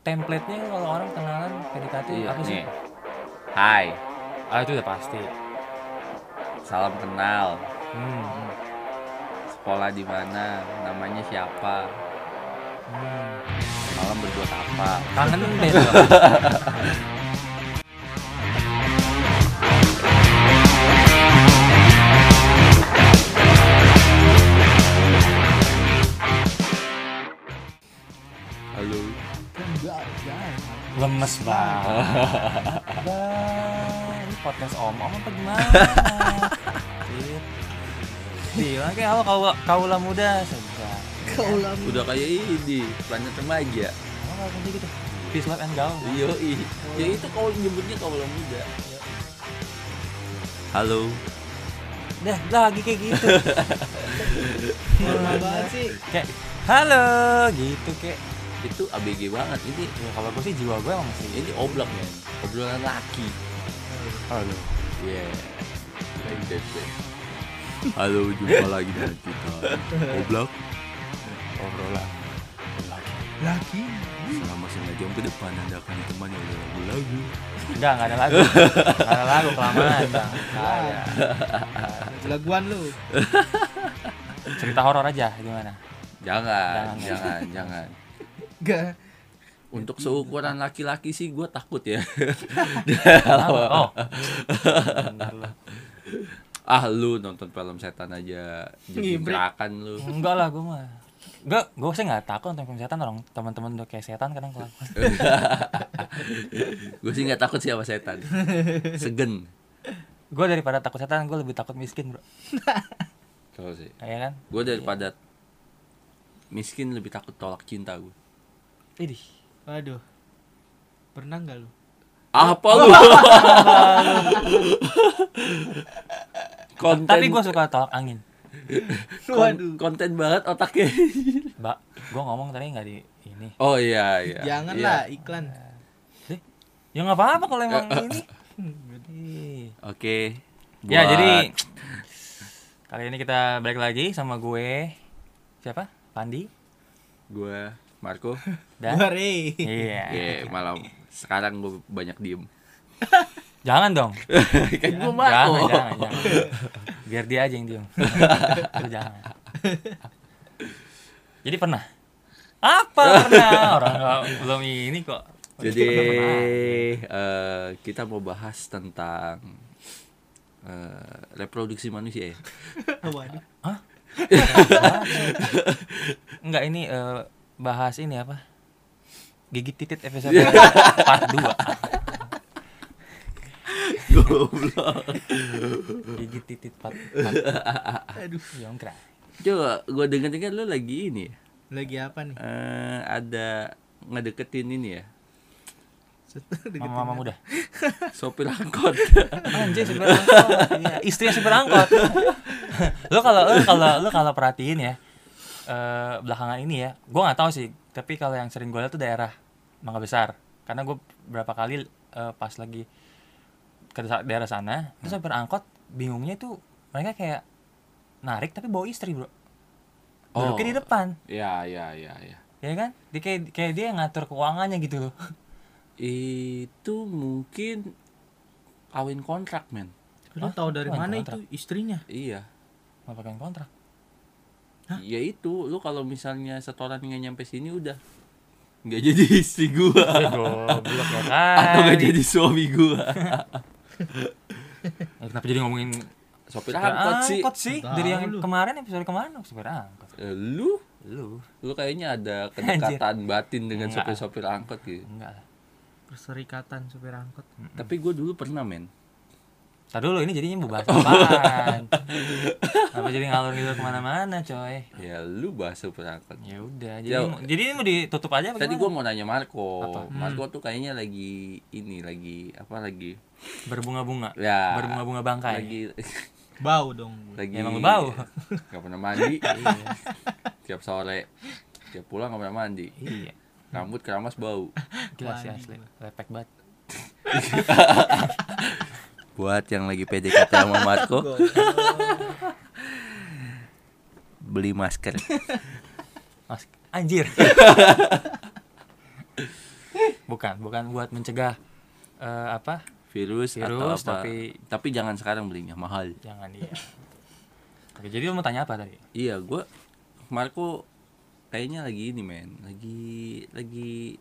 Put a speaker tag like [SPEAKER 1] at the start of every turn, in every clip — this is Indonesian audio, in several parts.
[SPEAKER 1] template-nya kalau orang kenalan PDKT
[SPEAKER 2] Iya,
[SPEAKER 1] apa sih?
[SPEAKER 2] nih. Hai,
[SPEAKER 1] Ah itu udah pasti.
[SPEAKER 2] salam kenal.
[SPEAKER 1] Hmm.
[SPEAKER 2] Sekolah di mana? Namanya siapa?
[SPEAKER 1] hmm.
[SPEAKER 2] Malam berbuat apa?
[SPEAKER 1] Kangen deh. tuh.
[SPEAKER 2] Halo.
[SPEAKER 1] Lemes banget. Bang, ini podcast om om apa gimana? Gitu. Bilang kayak awal kau Iya, kaula muda sudah.
[SPEAKER 3] Kaulah muda.
[SPEAKER 2] Udah kayak ini, planet remaja.
[SPEAKER 1] Kamu nggak ngerti gitu. Peace love and gaul.
[SPEAKER 2] Yoi. Ya itu kau nyebutnya kau belum muda. Halo.
[SPEAKER 1] Dah lagi kayak gitu.
[SPEAKER 3] Lama banget sih.
[SPEAKER 1] kayak halo gitu kayak.
[SPEAKER 2] Itu ABG banget. Ini
[SPEAKER 1] Ya kalau gue sih jiwa gue emang sih.
[SPEAKER 2] ini oblak men. Obrolan laki. Iya.
[SPEAKER 1] Halo.
[SPEAKER 2] Yeah. Like that, man. gitu, Halo, jumpa lagi dengan kita. Oblak
[SPEAKER 1] Obrolan.
[SPEAKER 3] Lagi.
[SPEAKER 2] selama setengah jam ke depan Anda akan ditemani oleh lagu-lagu.
[SPEAKER 1] Enggak, enggak ada lagu. Enggak ada lagu kelamaan, Bang. Nggak ada.
[SPEAKER 3] Laguan lu.
[SPEAKER 1] Cerita horor aja gimana? Jangan.
[SPEAKER 2] Jangan, jangan, jangan.
[SPEAKER 3] Enggak.
[SPEAKER 2] Untuk seukuran laki-laki sih gue takut ya.
[SPEAKER 1] Kenapa? Oh. Bener lu.
[SPEAKER 2] ah lu nonton film setan aja jadi
[SPEAKER 3] Ngibrit.
[SPEAKER 2] gerakan lu.
[SPEAKER 1] Enggak lah gue mah. Enggak, gue sih nggak takut nonton film setan orang teman-teman udah kayak setan kadang kelakuan.
[SPEAKER 2] gue sih nggak takut sih sama setan. Segen.
[SPEAKER 1] gue daripada takut setan, gue lebih takut miskin, Bro.
[SPEAKER 2] Tahu sih.
[SPEAKER 1] Iya kan?
[SPEAKER 2] Gue daripada miskin lebih takut tolak cinta gue.
[SPEAKER 1] Idih.
[SPEAKER 3] Waduh. Pernah nggak lu?
[SPEAKER 1] Oh.
[SPEAKER 2] Apa lu? konten
[SPEAKER 1] Tapi gue suka tolak angin.
[SPEAKER 2] kon- konten banget otaknya.
[SPEAKER 1] Mbak, gue ngomong tadi nggak di ini.
[SPEAKER 2] oh iya iya. Iya.
[SPEAKER 3] Janganlah iklan.
[SPEAKER 1] Eh, Ya nggak apa-apa kalau emang ini. Ih.
[SPEAKER 2] Oke.
[SPEAKER 1] Ya
[SPEAKER 2] Buat-
[SPEAKER 1] jadi kali ini kita balik lagi sama gue siapa? Pandi
[SPEAKER 2] gue Marco.
[SPEAKER 1] dan
[SPEAKER 3] Bare.
[SPEAKER 1] iya.
[SPEAKER 2] Iya, malam sekarang gue banyak diem.
[SPEAKER 1] Jangan dong.
[SPEAKER 2] kan gue Marco.
[SPEAKER 1] jangan, jangan, jangan. Biar dia aja yang diem. Lu jangan. Jadi pernah. Apa pernah? Orang nggak- belum ini kok.
[SPEAKER 2] Jadi
[SPEAKER 1] Pernah.
[SPEAKER 2] eh, kita mau bahas tentang eh, reproduksi manusia ya.
[SPEAKER 3] Waduh.
[SPEAKER 1] Hah? Enggak ini eh, bahas ini apa? Gigit titit episode part 2.
[SPEAKER 2] Goblok.
[SPEAKER 1] Gigit titit part 4.
[SPEAKER 3] Aduh.
[SPEAKER 1] Yongkra.
[SPEAKER 2] Coba gue dengar-dengar lu lagi ini ya.
[SPEAKER 3] Lagi apa nih?
[SPEAKER 2] Eh, ada ngedeketin ini ya.
[SPEAKER 3] Setelah deket-
[SPEAKER 1] Mama-mama muda.
[SPEAKER 2] Sopir angkot.
[SPEAKER 1] Anjir supir angkot. Iya, istrinya supir angkot. lo kalau lo kalau lo kalau perhatiin ya eh, belakangan ini ya, gue nggak tahu sih. Tapi kalau yang sering gue lihat tuh daerah Mangga Besar. Karena gue berapa kali eh, pas lagi ke desa- daerah sana, terus supir angkot bingungnya tuh mereka kayak narik tapi bawa istri bro. Duduknya di depan,
[SPEAKER 2] Ya, ya, ya, ya.
[SPEAKER 1] ya kan? Dia kayak kayak dia yang ngatur keuangannya gitu loh.
[SPEAKER 2] Itu mungkin kawin kontrak, men.
[SPEAKER 3] Lu
[SPEAKER 1] Hah?
[SPEAKER 3] tahu dari
[SPEAKER 1] Wah,
[SPEAKER 3] mana
[SPEAKER 1] kontrak.
[SPEAKER 3] itu istrinya?
[SPEAKER 2] Iya.
[SPEAKER 1] Mau pegang kontrak.
[SPEAKER 2] Ya itu, lu kalau misalnya setoran nggak nyampe sini udah nggak jadi istri gua
[SPEAKER 1] Ya, goblok ya
[SPEAKER 2] atau nggak
[SPEAKER 1] kan.
[SPEAKER 2] jadi suami gua.
[SPEAKER 1] Eh, Kenapa jadi ngomongin
[SPEAKER 2] Sopir Nah, angkot sih.
[SPEAKER 3] Tahu
[SPEAKER 1] dari yang
[SPEAKER 3] lu.
[SPEAKER 1] kemarin episode kemarin aku sopir angkot
[SPEAKER 2] Eh, Lu,
[SPEAKER 1] lu
[SPEAKER 2] lu kayaknya ada kedekatan batin dengan
[SPEAKER 1] Nggak.
[SPEAKER 2] sopir-sopir angkot gitu.
[SPEAKER 1] enggak lah
[SPEAKER 3] Perserikatan supir angkot.
[SPEAKER 2] Tapi gua dulu pernah, men.
[SPEAKER 1] Tar dulu ini jadinya mau bahas
[SPEAKER 2] Oh.
[SPEAKER 1] apaan apa jadi ngalur gitu kemana-mana coy
[SPEAKER 2] Ya lu bahas sopir angkot.
[SPEAKER 1] ya udah jadi
[SPEAKER 2] Ya.
[SPEAKER 1] mau- jadi ini mau ditutup aja apa
[SPEAKER 2] Tadi
[SPEAKER 1] gimana?
[SPEAKER 2] gua mau nanya Marco.
[SPEAKER 1] Apa? Hmm.
[SPEAKER 2] Marco tuh kayaknya lagi ini lagi apa lagi?
[SPEAKER 1] berbunga-bunga
[SPEAKER 2] Ya.
[SPEAKER 1] berbunga-bunga bangkai
[SPEAKER 2] Lagi
[SPEAKER 3] Bau dong. gue.
[SPEAKER 2] lagi
[SPEAKER 1] Emang bau. Iya.
[SPEAKER 2] Gak pernah mandi. tiap sore tiap pulang gak pernah mandi.
[SPEAKER 1] iya
[SPEAKER 2] Rambut keramas bau.
[SPEAKER 1] gila sih
[SPEAKER 3] Mandi
[SPEAKER 1] asli
[SPEAKER 3] gua.
[SPEAKER 1] lepek banget
[SPEAKER 2] Buat yang lagi PDKT sama Marco, beli masker.
[SPEAKER 1] Mas, anjir bukan bukan buat mencegah eh, apa
[SPEAKER 2] Virus, atau
[SPEAKER 1] Virus,
[SPEAKER 2] apa?
[SPEAKER 1] tapi-
[SPEAKER 2] tapi jangan sekarang belinya mahal.
[SPEAKER 1] jangan iya oke jadi lu mau tanya apa tadi
[SPEAKER 2] Iya, gua Marco kayaknya lagi ini men, lagi lagi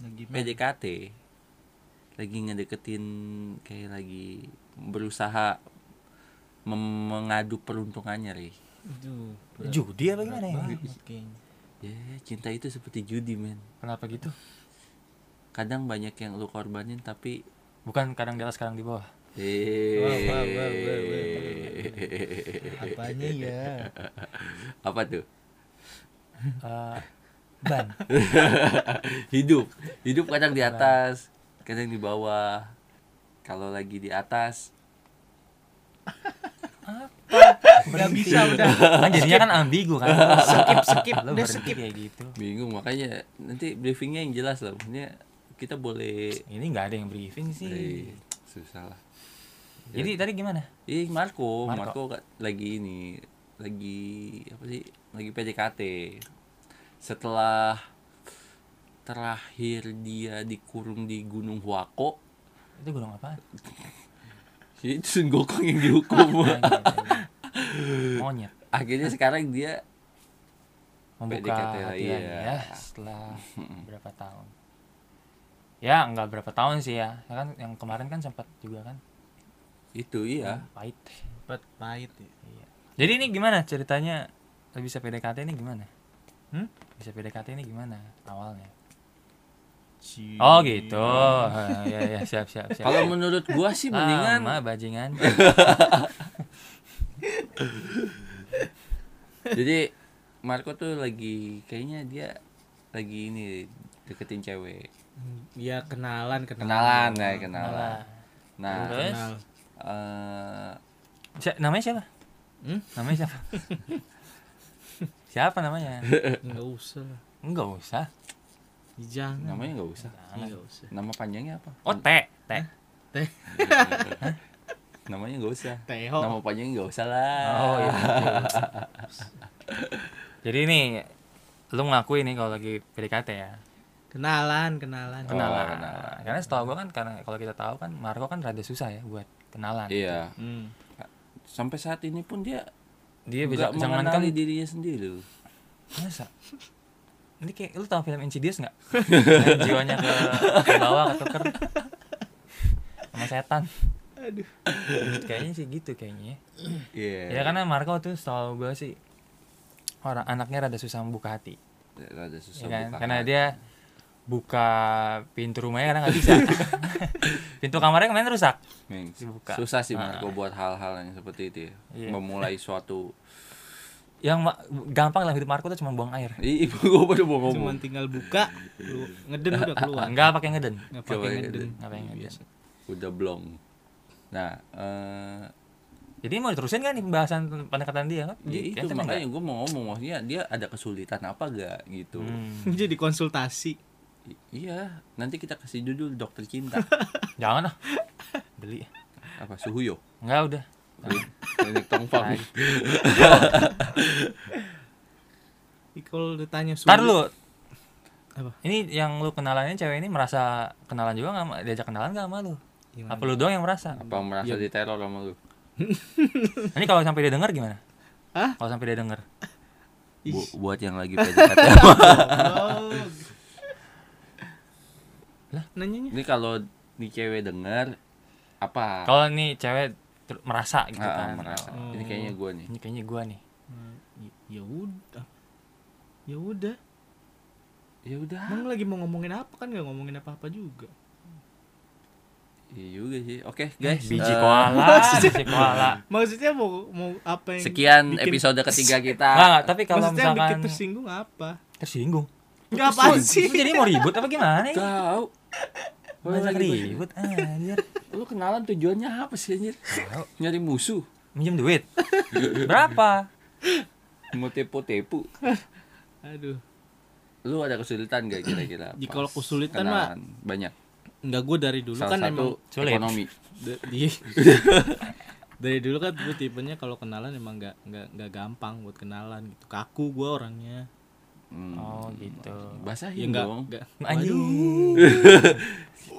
[SPEAKER 3] Lagi
[SPEAKER 2] PDKT, lagi ngedeketin kayak lagi berusaha mem- mengadu peruntungannya Ri.
[SPEAKER 3] Aduh, berat
[SPEAKER 1] judi apa gimana ya
[SPEAKER 3] banget kayaknya.
[SPEAKER 2] Ya, cinta itu seperti judi men.
[SPEAKER 1] kenapa gitu
[SPEAKER 2] Kadang banyak yang lu korbanin tapi
[SPEAKER 1] bukan kadang di atas kadang di bawah
[SPEAKER 3] Wah, wah, wah, wah, wah.
[SPEAKER 2] eh
[SPEAKER 3] Apanya ya?
[SPEAKER 2] apa tuh?
[SPEAKER 1] Eh, ban
[SPEAKER 2] hidup hidup kadang di atas kadang di bawah kalau lagi di atas
[SPEAKER 3] Gak bisa udah.
[SPEAKER 1] kan jadinya kan ambigu kan skip
[SPEAKER 3] skip,
[SPEAKER 1] lu
[SPEAKER 3] udah
[SPEAKER 1] berhenti
[SPEAKER 3] skip.
[SPEAKER 1] kayak gitu
[SPEAKER 2] bingung makanya nanti briefingnya yang jelas lah maksudnya kita boleh
[SPEAKER 1] ini nggak ada yang briefing sih
[SPEAKER 2] eh, susah lah
[SPEAKER 1] jadi tadi gimana
[SPEAKER 2] ih Marco,
[SPEAKER 1] Marco.
[SPEAKER 2] Marco ka- lagi ini lagi apa sih lagi PDKT setelah terakhir dia dikurung di Gunung Huako
[SPEAKER 1] itu gunung apa
[SPEAKER 2] itu Sun Gokong yang dihukum
[SPEAKER 1] Iya. monyet
[SPEAKER 2] akhirnya sekarang dia
[SPEAKER 1] membuka
[SPEAKER 2] PDKT lah,
[SPEAKER 1] hati
[SPEAKER 2] iya.
[SPEAKER 1] lagi ya setelah berapa tahun ya nggak berapa tahun sih ya Ya kan yang kemarin kan sempat juga kan
[SPEAKER 2] itu iya
[SPEAKER 1] pahit
[SPEAKER 3] Cepet pahit ya.
[SPEAKER 1] jadi ini gimana ceritanya lo bisa PDKT ini gimana
[SPEAKER 3] Hmm?
[SPEAKER 1] bisa PDKT ini gimana awalnya
[SPEAKER 3] Ci-
[SPEAKER 1] oh gitu Ah, ya ya siap siap siap
[SPEAKER 2] Kalau menurut gua sih
[SPEAKER 1] Ah,
[SPEAKER 2] mendingan
[SPEAKER 1] lama bajingan
[SPEAKER 2] jadi Marco tuh lagi kayaknya dia lagi ini deketin cewek.
[SPEAKER 3] Ya kenalan,
[SPEAKER 2] Kenalan
[SPEAKER 3] kenalan.
[SPEAKER 2] ya, kenalan.
[SPEAKER 1] Nah,
[SPEAKER 2] Nah,
[SPEAKER 1] Terus?
[SPEAKER 3] Kenal.
[SPEAKER 2] eh,
[SPEAKER 1] si- namanya siapa
[SPEAKER 3] Hmm?
[SPEAKER 1] namanya siapa siapa namanya
[SPEAKER 3] Enggak usah. lah.
[SPEAKER 1] nggak usah
[SPEAKER 3] Ya, Jangan.
[SPEAKER 2] namanya nggak usah.
[SPEAKER 3] Enggak usah.
[SPEAKER 2] Nama panjangnya apa?
[SPEAKER 1] Nah. oh teh teh
[SPEAKER 3] Teh.
[SPEAKER 2] Namanya nggak usah.
[SPEAKER 3] Teho.
[SPEAKER 2] Nama panjangnya nggak usah lah.
[SPEAKER 1] Oh iya. Jadi ini lu ngakui nih kalau lagi PDKT ya.
[SPEAKER 3] Kenalan, kenalan.
[SPEAKER 2] Kenal.
[SPEAKER 1] Kenalan.
[SPEAKER 2] Oh, kenalan.
[SPEAKER 1] Karena setahu gua kan karena kalau kita tahu kan Marco kan rada susah ya buat kenalan.
[SPEAKER 2] Iya.
[SPEAKER 3] Hmm.
[SPEAKER 2] Sampai saat ini pun dia
[SPEAKER 1] Dia bisa
[SPEAKER 2] nggak
[SPEAKER 1] jangan kan
[SPEAKER 2] mengenali dirinya sendiri. loh.
[SPEAKER 1] masa. Ini kayak lu tahu film Insidious enggak? Yang jiwanya ke, ke bawah ketuker sama setan.
[SPEAKER 3] Aduh.
[SPEAKER 1] Kayaknya sih gitu kayaknya. Ya
[SPEAKER 2] Iya.
[SPEAKER 1] karena Marco tuh setahu gua sih orang anaknya rada susah membuka hati.
[SPEAKER 2] Rada
[SPEAKER 1] ya
[SPEAKER 2] susah
[SPEAKER 1] kan?
[SPEAKER 2] buka
[SPEAKER 1] karena
[SPEAKER 2] hati.
[SPEAKER 1] dia buka pintu rumahnya karena nggak bisa pintu kamarnya kemarin rusak
[SPEAKER 2] Meng,
[SPEAKER 1] Dibuka.
[SPEAKER 2] Susah sih
[SPEAKER 1] Ah.
[SPEAKER 2] Marco buat hal-hal yang seperti itu ya.
[SPEAKER 1] Iya.
[SPEAKER 2] Memulai suatu
[SPEAKER 1] yang ma- gampang dalam hidup Marco tuh cuma buang air
[SPEAKER 2] Ih, ibu gue baru mau
[SPEAKER 3] Cuman
[SPEAKER 2] ngomong.
[SPEAKER 3] tinggal buka, lu ngeden udah keluar.
[SPEAKER 1] nggak pakai ngeden
[SPEAKER 3] Enggak
[SPEAKER 2] Coba
[SPEAKER 3] pakai
[SPEAKER 2] ya,
[SPEAKER 3] ngeden.
[SPEAKER 2] Den.
[SPEAKER 1] nggak pakai ngeden
[SPEAKER 2] Biasa. Udah blong. Nah, eh
[SPEAKER 1] jadi mau diterusin kan nih pembahasan pendekatan dia kan
[SPEAKER 2] ya itu
[SPEAKER 1] Kayaknya
[SPEAKER 2] makanya
[SPEAKER 1] nggak.
[SPEAKER 2] gue mau ngomong maksudnya dia ada kesulitan apa gak gitu.
[SPEAKER 1] Hmm.
[SPEAKER 3] Jadi konsultasi.
[SPEAKER 2] I- iya, nanti kita kasih judul dokter cinta
[SPEAKER 1] jangan lah beli
[SPEAKER 2] apa Suhuyo.
[SPEAKER 1] nggak udah
[SPEAKER 2] Klinik Tongfang.
[SPEAKER 3] Ih, Kalau ditanya sulit.
[SPEAKER 1] tar lu
[SPEAKER 3] Apa?
[SPEAKER 1] ini yang lu kenalannya cewek ini merasa kenalan juga nggak sama- diajak kenalan nggak sama lu
[SPEAKER 3] Gimana?
[SPEAKER 1] apa lu doang yang merasa
[SPEAKER 2] apa merasa diteror sama lu?
[SPEAKER 1] ini kalau sampai dia dengar gimana
[SPEAKER 3] Hah?
[SPEAKER 1] kalau sampai dia dengar
[SPEAKER 2] Bu- buat yang lagi PDKT.
[SPEAKER 3] Goblok.
[SPEAKER 1] Lah?
[SPEAKER 3] nanyanya
[SPEAKER 2] Ini kalau di cewek denger apa?
[SPEAKER 1] kalau nih cewek ter- merasa gitu
[SPEAKER 2] Ah, ah,
[SPEAKER 1] kan
[SPEAKER 2] merasa.
[SPEAKER 3] Oh.
[SPEAKER 2] Ini kayaknya gue nih.
[SPEAKER 1] ini kayaknya gua nih
[SPEAKER 3] Nah, y- ya udah. Ya udah.
[SPEAKER 2] Ya udah.
[SPEAKER 3] Emang lagi mau ngomongin apa kan nggak ngomongin apa-apa juga.
[SPEAKER 2] Iya juga sih. Oke, guys.
[SPEAKER 1] biji
[SPEAKER 2] Eh,
[SPEAKER 1] koala biji koala
[SPEAKER 3] Maksudnya mau mau apa yang
[SPEAKER 2] Sekian
[SPEAKER 3] bikin-
[SPEAKER 2] episode ketiga kita.
[SPEAKER 1] nggak nggak, tapi kalau
[SPEAKER 3] Maksudnya yang bikin
[SPEAKER 1] misalkan
[SPEAKER 3] tersinggung apa?
[SPEAKER 1] tersinggung
[SPEAKER 3] Enggak apa sih?
[SPEAKER 1] Lu jadi mau ribut apa gimana ya
[SPEAKER 2] Tahu. Lu
[SPEAKER 1] banyak
[SPEAKER 2] lagi-
[SPEAKER 1] ribut anjir
[SPEAKER 2] Lu kenalan tujuannya apa sih anjir?
[SPEAKER 1] Tahu.
[SPEAKER 2] Nyari musuh.
[SPEAKER 1] minjem duit berapa
[SPEAKER 2] Mau tepo-tepo.
[SPEAKER 3] Aduh,
[SPEAKER 2] Lu ada kesulitan gak kira-kira?
[SPEAKER 3] Di
[SPEAKER 2] pas
[SPEAKER 3] kalau kesulitan,
[SPEAKER 2] kenalan? banyak.
[SPEAKER 3] enggak gue dari dulu
[SPEAKER 2] Salah
[SPEAKER 3] kan
[SPEAKER 2] satu
[SPEAKER 3] emang
[SPEAKER 1] Sulit.
[SPEAKER 2] ekonomi.
[SPEAKER 3] da- di- dari dulu kan gue tipenya kalau kenalan emang nggak nggak nggak gampang buat kenalan gitu. Kaku gue orangnya.
[SPEAKER 2] Hmm.
[SPEAKER 1] Oh gitu.
[SPEAKER 3] Ya
[SPEAKER 2] Basahin
[SPEAKER 3] enggak,
[SPEAKER 2] Iya dong.
[SPEAKER 3] enggak.
[SPEAKER 1] Anjing.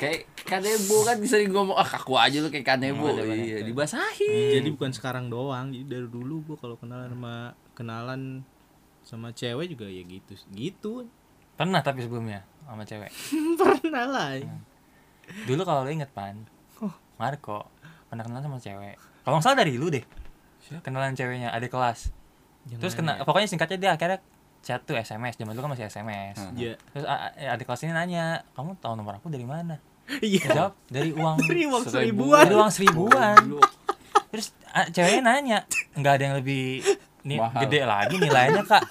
[SPEAKER 2] Kayak kanebo kan bisa ngomong ah kaku aja lu kayak kanebo.
[SPEAKER 1] ada banyak
[SPEAKER 2] iya,
[SPEAKER 1] tuh.
[SPEAKER 2] dibasahin.
[SPEAKER 3] Hmm, Jadi bukan sekarang doang, jadi dari dulu gua kalau kenalan sama kenalan sama cewek juga ya gitu. Gitu.
[SPEAKER 1] Pernah tapi sebelumnya sama cewek.
[SPEAKER 3] Pernah lah.
[SPEAKER 1] Dulu kalau lu inget pan, Marco pernah kenalan sama cewek. Kalau nggak salah dari lu deh.
[SPEAKER 2] Siapa?
[SPEAKER 1] Kenalan ceweknya ada kelas.
[SPEAKER 3] Yang ya?
[SPEAKER 1] Terus
[SPEAKER 3] mana
[SPEAKER 1] kena pokoknya singkatnya dia akhirnya chat tuh SMS. Zaman dulu kan masih SMS.
[SPEAKER 2] Hmm.
[SPEAKER 3] ya?
[SPEAKER 1] Terus ada kelas ini nanya, "Kamu tahu nomor aku dari mana?" Dia
[SPEAKER 3] Iya.
[SPEAKER 1] jawab, "Dari uang
[SPEAKER 3] Dari uang
[SPEAKER 2] seribuan.
[SPEAKER 3] seribuan.
[SPEAKER 1] dari uang seribuan."
[SPEAKER 2] Goblok.
[SPEAKER 1] Terus ah, ceweknya nanya, "Nggak ada yang lebih ni,
[SPEAKER 2] Mahal.
[SPEAKER 1] gede lagi nilainya, Kak?"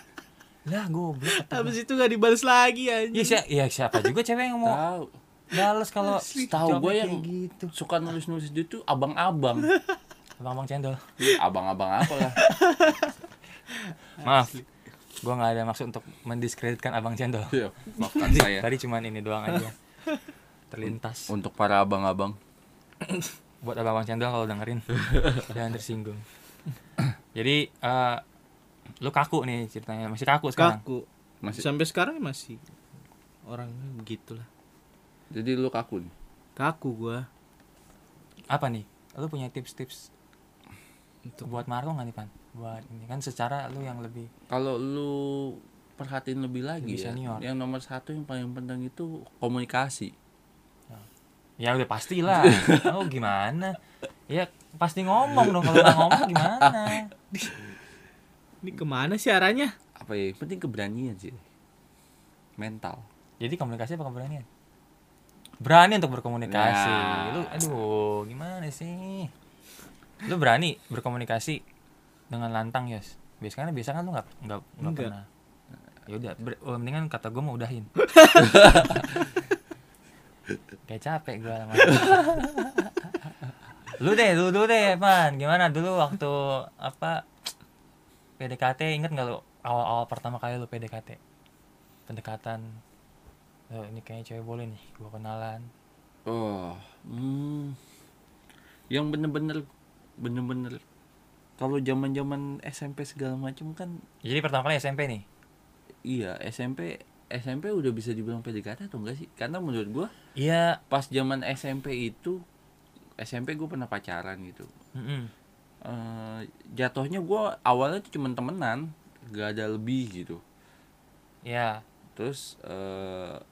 [SPEAKER 1] Lah, goblok. kata gua.
[SPEAKER 3] Habis itu gak dibales lagi
[SPEAKER 1] Iya,
[SPEAKER 3] anjing.
[SPEAKER 1] si- iya, siapa juga cewek yang mau
[SPEAKER 2] Tahu.
[SPEAKER 1] Balas kalau
[SPEAKER 2] Tahu
[SPEAKER 1] jawabnya
[SPEAKER 2] gue yang
[SPEAKER 1] kayak gitu.
[SPEAKER 2] suka nulis-nulis itu tuh abang-abang.
[SPEAKER 1] Abang-abang cendol.
[SPEAKER 2] Iya, abang-abang apa lah.
[SPEAKER 1] Maaf. Gua nggak ada maksud untuk mendiskreditkan Abang Cendol.
[SPEAKER 2] Iya, maafkan
[SPEAKER 1] Tadi,
[SPEAKER 2] saya.
[SPEAKER 1] tadi cuman ini doang aja. Terlintas.
[SPEAKER 2] Untuk para abang-abang.
[SPEAKER 1] Buat Abang-abang Cendol kalau dengerin jangan tersinggung. Jadi eh, lu kaku nih ceritanya, masih kaku sekarang.
[SPEAKER 3] Kaku.
[SPEAKER 2] Masih
[SPEAKER 3] Sampai sekarang ya masih orangnya begitulah.
[SPEAKER 2] jadi lu kaku nih.
[SPEAKER 3] Kaku gua.
[SPEAKER 1] Apa nih? Lu punya tips-tips
[SPEAKER 3] Untuk-
[SPEAKER 1] buat Marco nggak nih, Pan? Buat ini kan secara lu yang lebih
[SPEAKER 2] Kalau lu perhatiin lebih lagi
[SPEAKER 1] Lebih
[SPEAKER 2] ya.
[SPEAKER 1] senior.
[SPEAKER 2] Yang nomor satu yang paling penting itu komunikasi.
[SPEAKER 1] Ya udah pastilah. Oh gimana? Ya pasti ngomong dong kalau nggak ngomong gimana?
[SPEAKER 3] Ini kemana sih arahnya?
[SPEAKER 2] Apa ya? Yang penting keberanian sih. Mental.
[SPEAKER 1] Jadi komunikasi apa keberanian? Berani untuk berkomunikasi.
[SPEAKER 2] Nah.
[SPEAKER 1] Lu aduh, gimana sih? Lu berani berkomunikasi dengan lantang, Yos. Biasanya biasa kan lu nggak nggak nggak
[SPEAKER 3] Nggak.
[SPEAKER 1] pernah. Ya udah, ber- oh, mendingan kata gue mau udahin. Kayak capek gue lama. lu deh, lu dulu deh, Man. Gimana dulu waktu apa PDKT inget nggak lu awal-awal pertama kali lu PDKT? Pendekatan Oh, ini kayaknya cewek boleh nih, gua kenalan.
[SPEAKER 2] Oh, hmm. Yang bener-bener bener-bener kalau zaman-zaman SMP segala macam kan
[SPEAKER 1] Jadi pertama kali SMP nih.
[SPEAKER 2] iya SMP SMP udah bisa dibilang PDKT atau enggak sih? Karena menurut gua
[SPEAKER 1] Iya,
[SPEAKER 2] pas zaman SMP itu SMP gua pernah pacaran gitu.
[SPEAKER 1] mm-mm.
[SPEAKER 2] Eh jatuhnya gua awalnya tuh cuman temenan, gak ada lebih gitu.
[SPEAKER 1] Iya.
[SPEAKER 2] Terus eh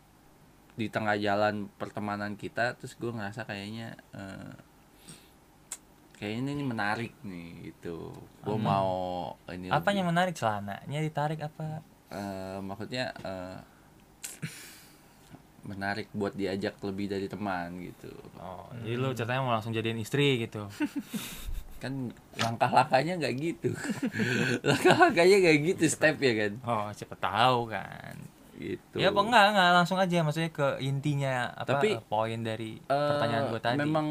[SPEAKER 2] di tengah jalan pertemanan kita terus gua ngerasa kayaknya eh kayaknya ini menarik nih gitu. Gua mau ini
[SPEAKER 1] Apa
[SPEAKER 2] lebih.
[SPEAKER 1] yang menarik celananya ditarik apa?
[SPEAKER 2] Eh, maksudnya eh, menarik buat diajak lebih dari teman gitu.
[SPEAKER 1] Oh, jadi lu ceritanya mau langsung jadian istri gitu.
[SPEAKER 2] kan langkah-langkahnya nggak gitu langkah-langkahnya nggak gitu step ya kan
[SPEAKER 1] Oh, siapa tahu kan.
[SPEAKER 2] gitu
[SPEAKER 1] Ya apa enggak, enggak langsung aja maksudnya ke intinya apa
[SPEAKER 2] Tapi,
[SPEAKER 1] eh, poin dari
[SPEAKER 2] Eh,
[SPEAKER 1] pertanyaan gua tadi.
[SPEAKER 2] memang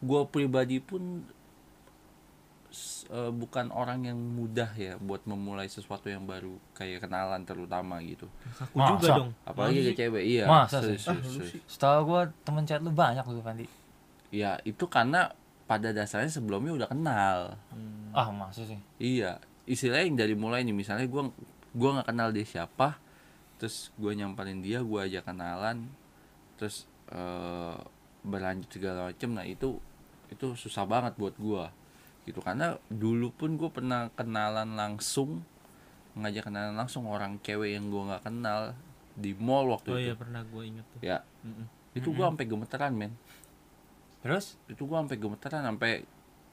[SPEAKER 2] gua pribadi pun s- eh, bukan orang yang mudah ya buat memulai sesuatu yang baru kayak kenalan terutama gitu
[SPEAKER 3] Kaku
[SPEAKER 1] Masa?
[SPEAKER 3] juga dong.
[SPEAKER 2] apalagi ke cewek iya
[SPEAKER 1] Masa
[SPEAKER 2] serius,
[SPEAKER 1] sih?
[SPEAKER 2] serius,
[SPEAKER 3] Ah, lu
[SPEAKER 2] serius.
[SPEAKER 3] sih.
[SPEAKER 1] Setahu gua temen chat lu banyak lu Pandi.
[SPEAKER 2] ya itu karena pada dasarnya sebelumnya udah kenal
[SPEAKER 1] Ah, maksud sih.
[SPEAKER 2] Iya, istilahnya yang dari mulai nih misalnya gua gua nggak kenal dia siapa, terus gua nyamperin dia, gua ajak kenalan, terus eh, berlanjut segala macem. Nah itu itu susah banget buat gua, gitu karena dulu pun gua pernah kenalan langsung, ngajak kenalan langsung orang cewek yang gua nggak kenal di mall waktu
[SPEAKER 3] Oh
[SPEAKER 2] itu.
[SPEAKER 3] iya pernah gua inget tuh.
[SPEAKER 2] Ya,
[SPEAKER 3] Mm-mm.
[SPEAKER 2] itu gua sampai gemeteran men,
[SPEAKER 1] Terus
[SPEAKER 2] itu gua sampai gemeteran sampai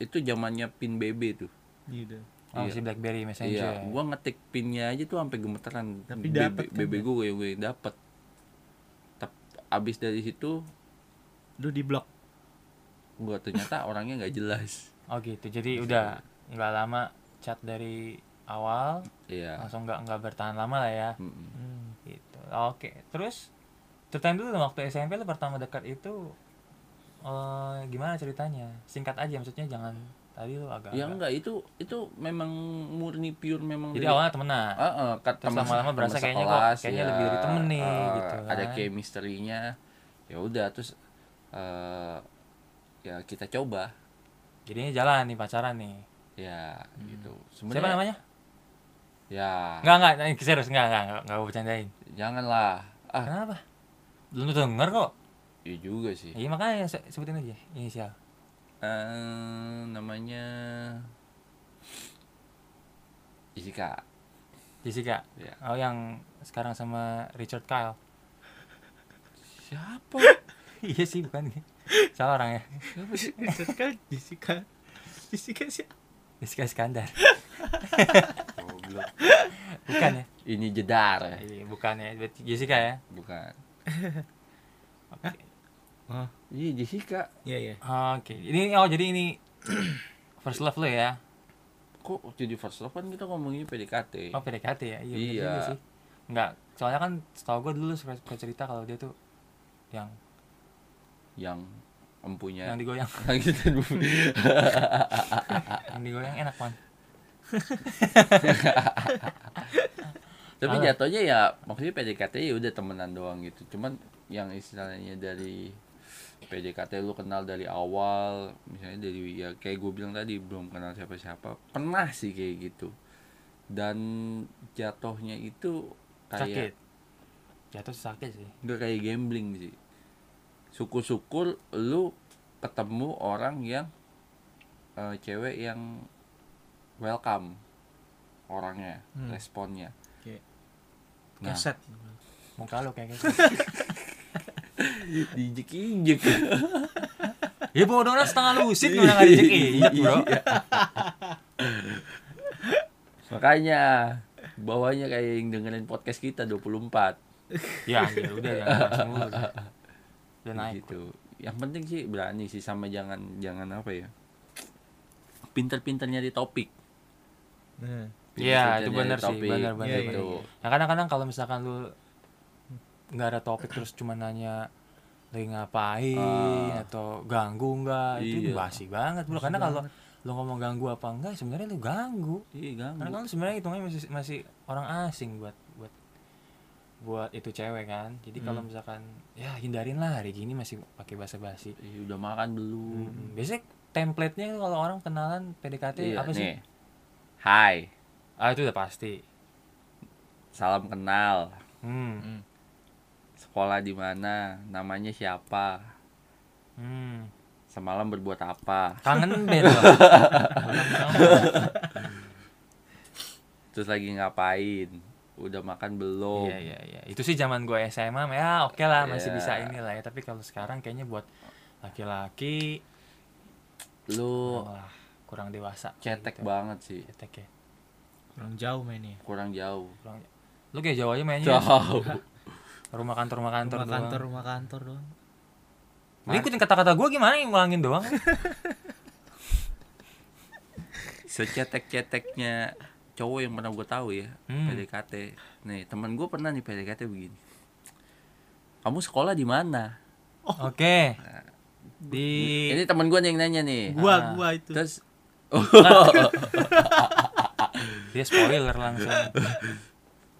[SPEAKER 2] itu zamannya pin BB tuh.
[SPEAKER 3] Iya udah.
[SPEAKER 1] oh,
[SPEAKER 2] Iya.
[SPEAKER 1] si BlackBerry
[SPEAKER 2] Iya,
[SPEAKER 1] Messenger.
[SPEAKER 2] gua ngetik pinnya aja tuh sampai gemeteran.
[SPEAKER 3] Tapi
[SPEAKER 2] BB
[SPEAKER 3] dapet kan
[SPEAKER 2] BB
[SPEAKER 3] ya?
[SPEAKER 2] gua yang gue dapet. Tep- abis dari situ
[SPEAKER 3] Lu di blok.
[SPEAKER 2] gua ternyata orangnya nggak jelas.
[SPEAKER 1] Oh gitu. Jadi udah nggak lama chat dari awal
[SPEAKER 2] Iya.
[SPEAKER 1] langsung nggak nggak bertahan lama lah ya
[SPEAKER 2] Mm-mm.
[SPEAKER 1] gitu oke terus ceritain dulu dong waktu SMP lu pertama dekat itu eh gimana ceritanya singkat aja maksudnya jangan tadi lu agak
[SPEAKER 2] Ya enggak itu itu memang murni pure memang
[SPEAKER 1] jadi
[SPEAKER 2] dari-
[SPEAKER 1] awalnya temenan
[SPEAKER 2] Ah, ah, kat-
[SPEAKER 1] Terus
[SPEAKER 2] teman-
[SPEAKER 1] lama-lama
[SPEAKER 2] teman
[SPEAKER 1] berasa kayaknya kok-
[SPEAKER 2] sekelas,
[SPEAKER 1] kayaknya lebih dari temen nih,
[SPEAKER 2] ah,
[SPEAKER 1] gitu
[SPEAKER 2] Ada
[SPEAKER 1] kan.
[SPEAKER 2] chemistry-nya. Ya udah terus eh, ya kita coba.
[SPEAKER 1] jadinya jalan nih pacaran nih
[SPEAKER 2] Ya gitu.
[SPEAKER 1] Hmm. siapa
[SPEAKER 2] Sebenarnya
[SPEAKER 1] namanya
[SPEAKER 2] ya
[SPEAKER 1] Enggak, enggak, nah, serius, enggak, enggak, enggak, enggak gue bercandain.
[SPEAKER 2] janganlah ah
[SPEAKER 1] Kenapa? Lu denger kok.
[SPEAKER 2] iya juga sih
[SPEAKER 1] Iya makanya se- sebutin aja inisial.
[SPEAKER 2] Eh, namanya Jessica
[SPEAKER 1] Jessica.
[SPEAKER 2] Iya.
[SPEAKER 1] Oh yang sekarang sama Richard Kyle.
[SPEAKER 2] siapa
[SPEAKER 1] iya sih bukan salah orangnya.
[SPEAKER 2] siapa sih
[SPEAKER 3] Jessica kan? Jessica Jessica sih
[SPEAKER 1] Jessica Iskandar.
[SPEAKER 2] Goblok.
[SPEAKER 1] Bukan ya?
[SPEAKER 2] ini jedar ya?
[SPEAKER 1] Iya, bukan ya. Berarti Jessica ya.
[SPEAKER 2] bukan
[SPEAKER 1] Oke.
[SPEAKER 3] oh
[SPEAKER 2] iya Jessica
[SPEAKER 3] iya iya
[SPEAKER 1] Oke. Ini oh jadi ini first love lo ya.
[SPEAKER 2] kok jadi first love kan kita ngomongin PDKT
[SPEAKER 1] Oh PDKT ya. Iya. bener
[SPEAKER 2] Iya.
[SPEAKER 1] juga sih. Enggak, soalnya kan setahu gue dulu suka, suka cerita kalau dia tuh yang
[SPEAKER 2] yang empunya
[SPEAKER 1] yang digoyang,
[SPEAKER 2] yang gitu Ah,
[SPEAKER 1] yang digoyang enak man.
[SPEAKER 2] tapi
[SPEAKER 1] Alah.
[SPEAKER 2] jatuhnya ya maksudnya PDKT ya udah temenan doang gitu cuman yang istilahnya dari PDKT lu kenal dari awal misalnya dari ya kayak gue bilang tadi belum kenal siapa-siapa pernah sih kayak gitu dan jatuhnya itu
[SPEAKER 1] Sakit.
[SPEAKER 2] kayak iya.
[SPEAKER 1] Jatuh sakit sih.
[SPEAKER 2] nggak kayak gambling sih syukur-syukur lu ketemu orang yang eh, cewek yang welcome orangnya
[SPEAKER 3] Hmm.
[SPEAKER 2] responnya
[SPEAKER 3] Kayak
[SPEAKER 2] Nah,
[SPEAKER 3] keset
[SPEAKER 1] Muka lo kayak gitu.
[SPEAKER 2] diinjek injek
[SPEAKER 1] Ya bodohnya setengah lusit gue udah ngajak
[SPEAKER 2] Iya,
[SPEAKER 1] injek bro
[SPEAKER 2] makanya bawahnya kayak yang dengerin podcast kita 24
[SPEAKER 1] Ya anjir udah jangan langsung mulu udah. Udah naik
[SPEAKER 2] gitu yang penting sih berani sih sama jangan jangan apa ya pinter-pinter nyari topik
[SPEAKER 3] nah
[SPEAKER 1] Iya
[SPEAKER 2] Pinter-pinter
[SPEAKER 1] itu
[SPEAKER 2] nyari
[SPEAKER 1] bener sih
[SPEAKER 2] topik.
[SPEAKER 1] bener bener,
[SPEAKER 3] Iya, iya,
[SPEAKER 1] bener.
[SPEAKER 2] iya.
[SPEAKER 1] Nah kadang-kadang kalau misalkan lu nggak ada topik terus cuma nanya lagi ngapain
[SPEAKER 2] Ah.
[SPEAKER 1] atau ganggu nggak itu
[SPEAKER 2] Iya.
[SPEAKER 1] basi banget bro karena kalau lu ngomong ganggu apa enggak ya sebenarnya lu ganggu
[SPEAKER 2] iya
[SPEAKER 1] karena
[SPEAKER 2] ganggu
[SPEAKER 1] kan lu sebenarnya hitungnya masih masih orang asing buat buat buat itu cewek kan jadi kalau misalkan ya hindarin lah hari gini masih pakai basa-basi
[SPEAKER 2] Ih, udah makan belum
[SPEAKER 1] Hmm, Biasanya template-nya kalau orang kenalan PDKT
[SPEAKER 2] Iya,
[SPEAKER 1] apa sih?
[SPEAKER 2] nih. hai
[SPEAKER 1] Ah itu udah pasti.
[SPEAKER 2] salam kenal
[SPEAKER 1] Hmm.
[SPEAKER 2] sekolah di mana namanya siapa
[SPEAKER 1] Hmm.
[SPEAKER 2] semalam berbuat apa
[SPEAKER 1] Kangen deh lo.
[SPEAKER 2] terus lagi ngapain udah makan belum
[SPEAKER 1] Iya iya iya. Itu sih zaman gue SMA ya oke lah masih
[SPEAKER 2] Oh. Iya.
[SPEAKER 1] bisa inilah ya. Tapi kalau sekarang kayaknya buat laki-laki
[SPEAKER 2] lu
[SPEAKER 1] malah kurang dewasa.
[SPEAKER 2] cetek
[SPEAKER 1] Gitu.
[SPEAKER 2] banget sih
[SPEAKER 1] Cetek ya.
[SPEAKER 3] kurang jauh mainnya
[SPEAKER 2] kurang jauh
[SPEAKER 1] Kurang... Lu kayak Jawa aja mainnya. ya?
[SPEAKER 2] jauh
[SPEAKER 1] Rumah kantor rumah kantor.
[SPEAKER 3] rumah
[SPEAKER 1] doang.
[SPEAKER 3] kantor rumah kantor doang
[SPEAKER 1] Lu ikutin kata-kata gue gimana yang ngulangin doang?
[SPEAKER 2] secetek-ceteknya cowok yang pernah gue tahu ya
[SPEAKER 1] Hmm.
[SPEAKER 2] PDKT nih teman gue pernah nih PDKT begini kamu sekolah di mana
[SPEAKER 1] Oke. Di
[SPEAKER 2] ini teman gue yang nanya nih
[SPEAKER 3] gua
[SPEAKER 1] Ah,
[SPEAKER 3] gua itu
[SPEAKER 2] terus
[SPEAKER 1] dia spoiler langsung.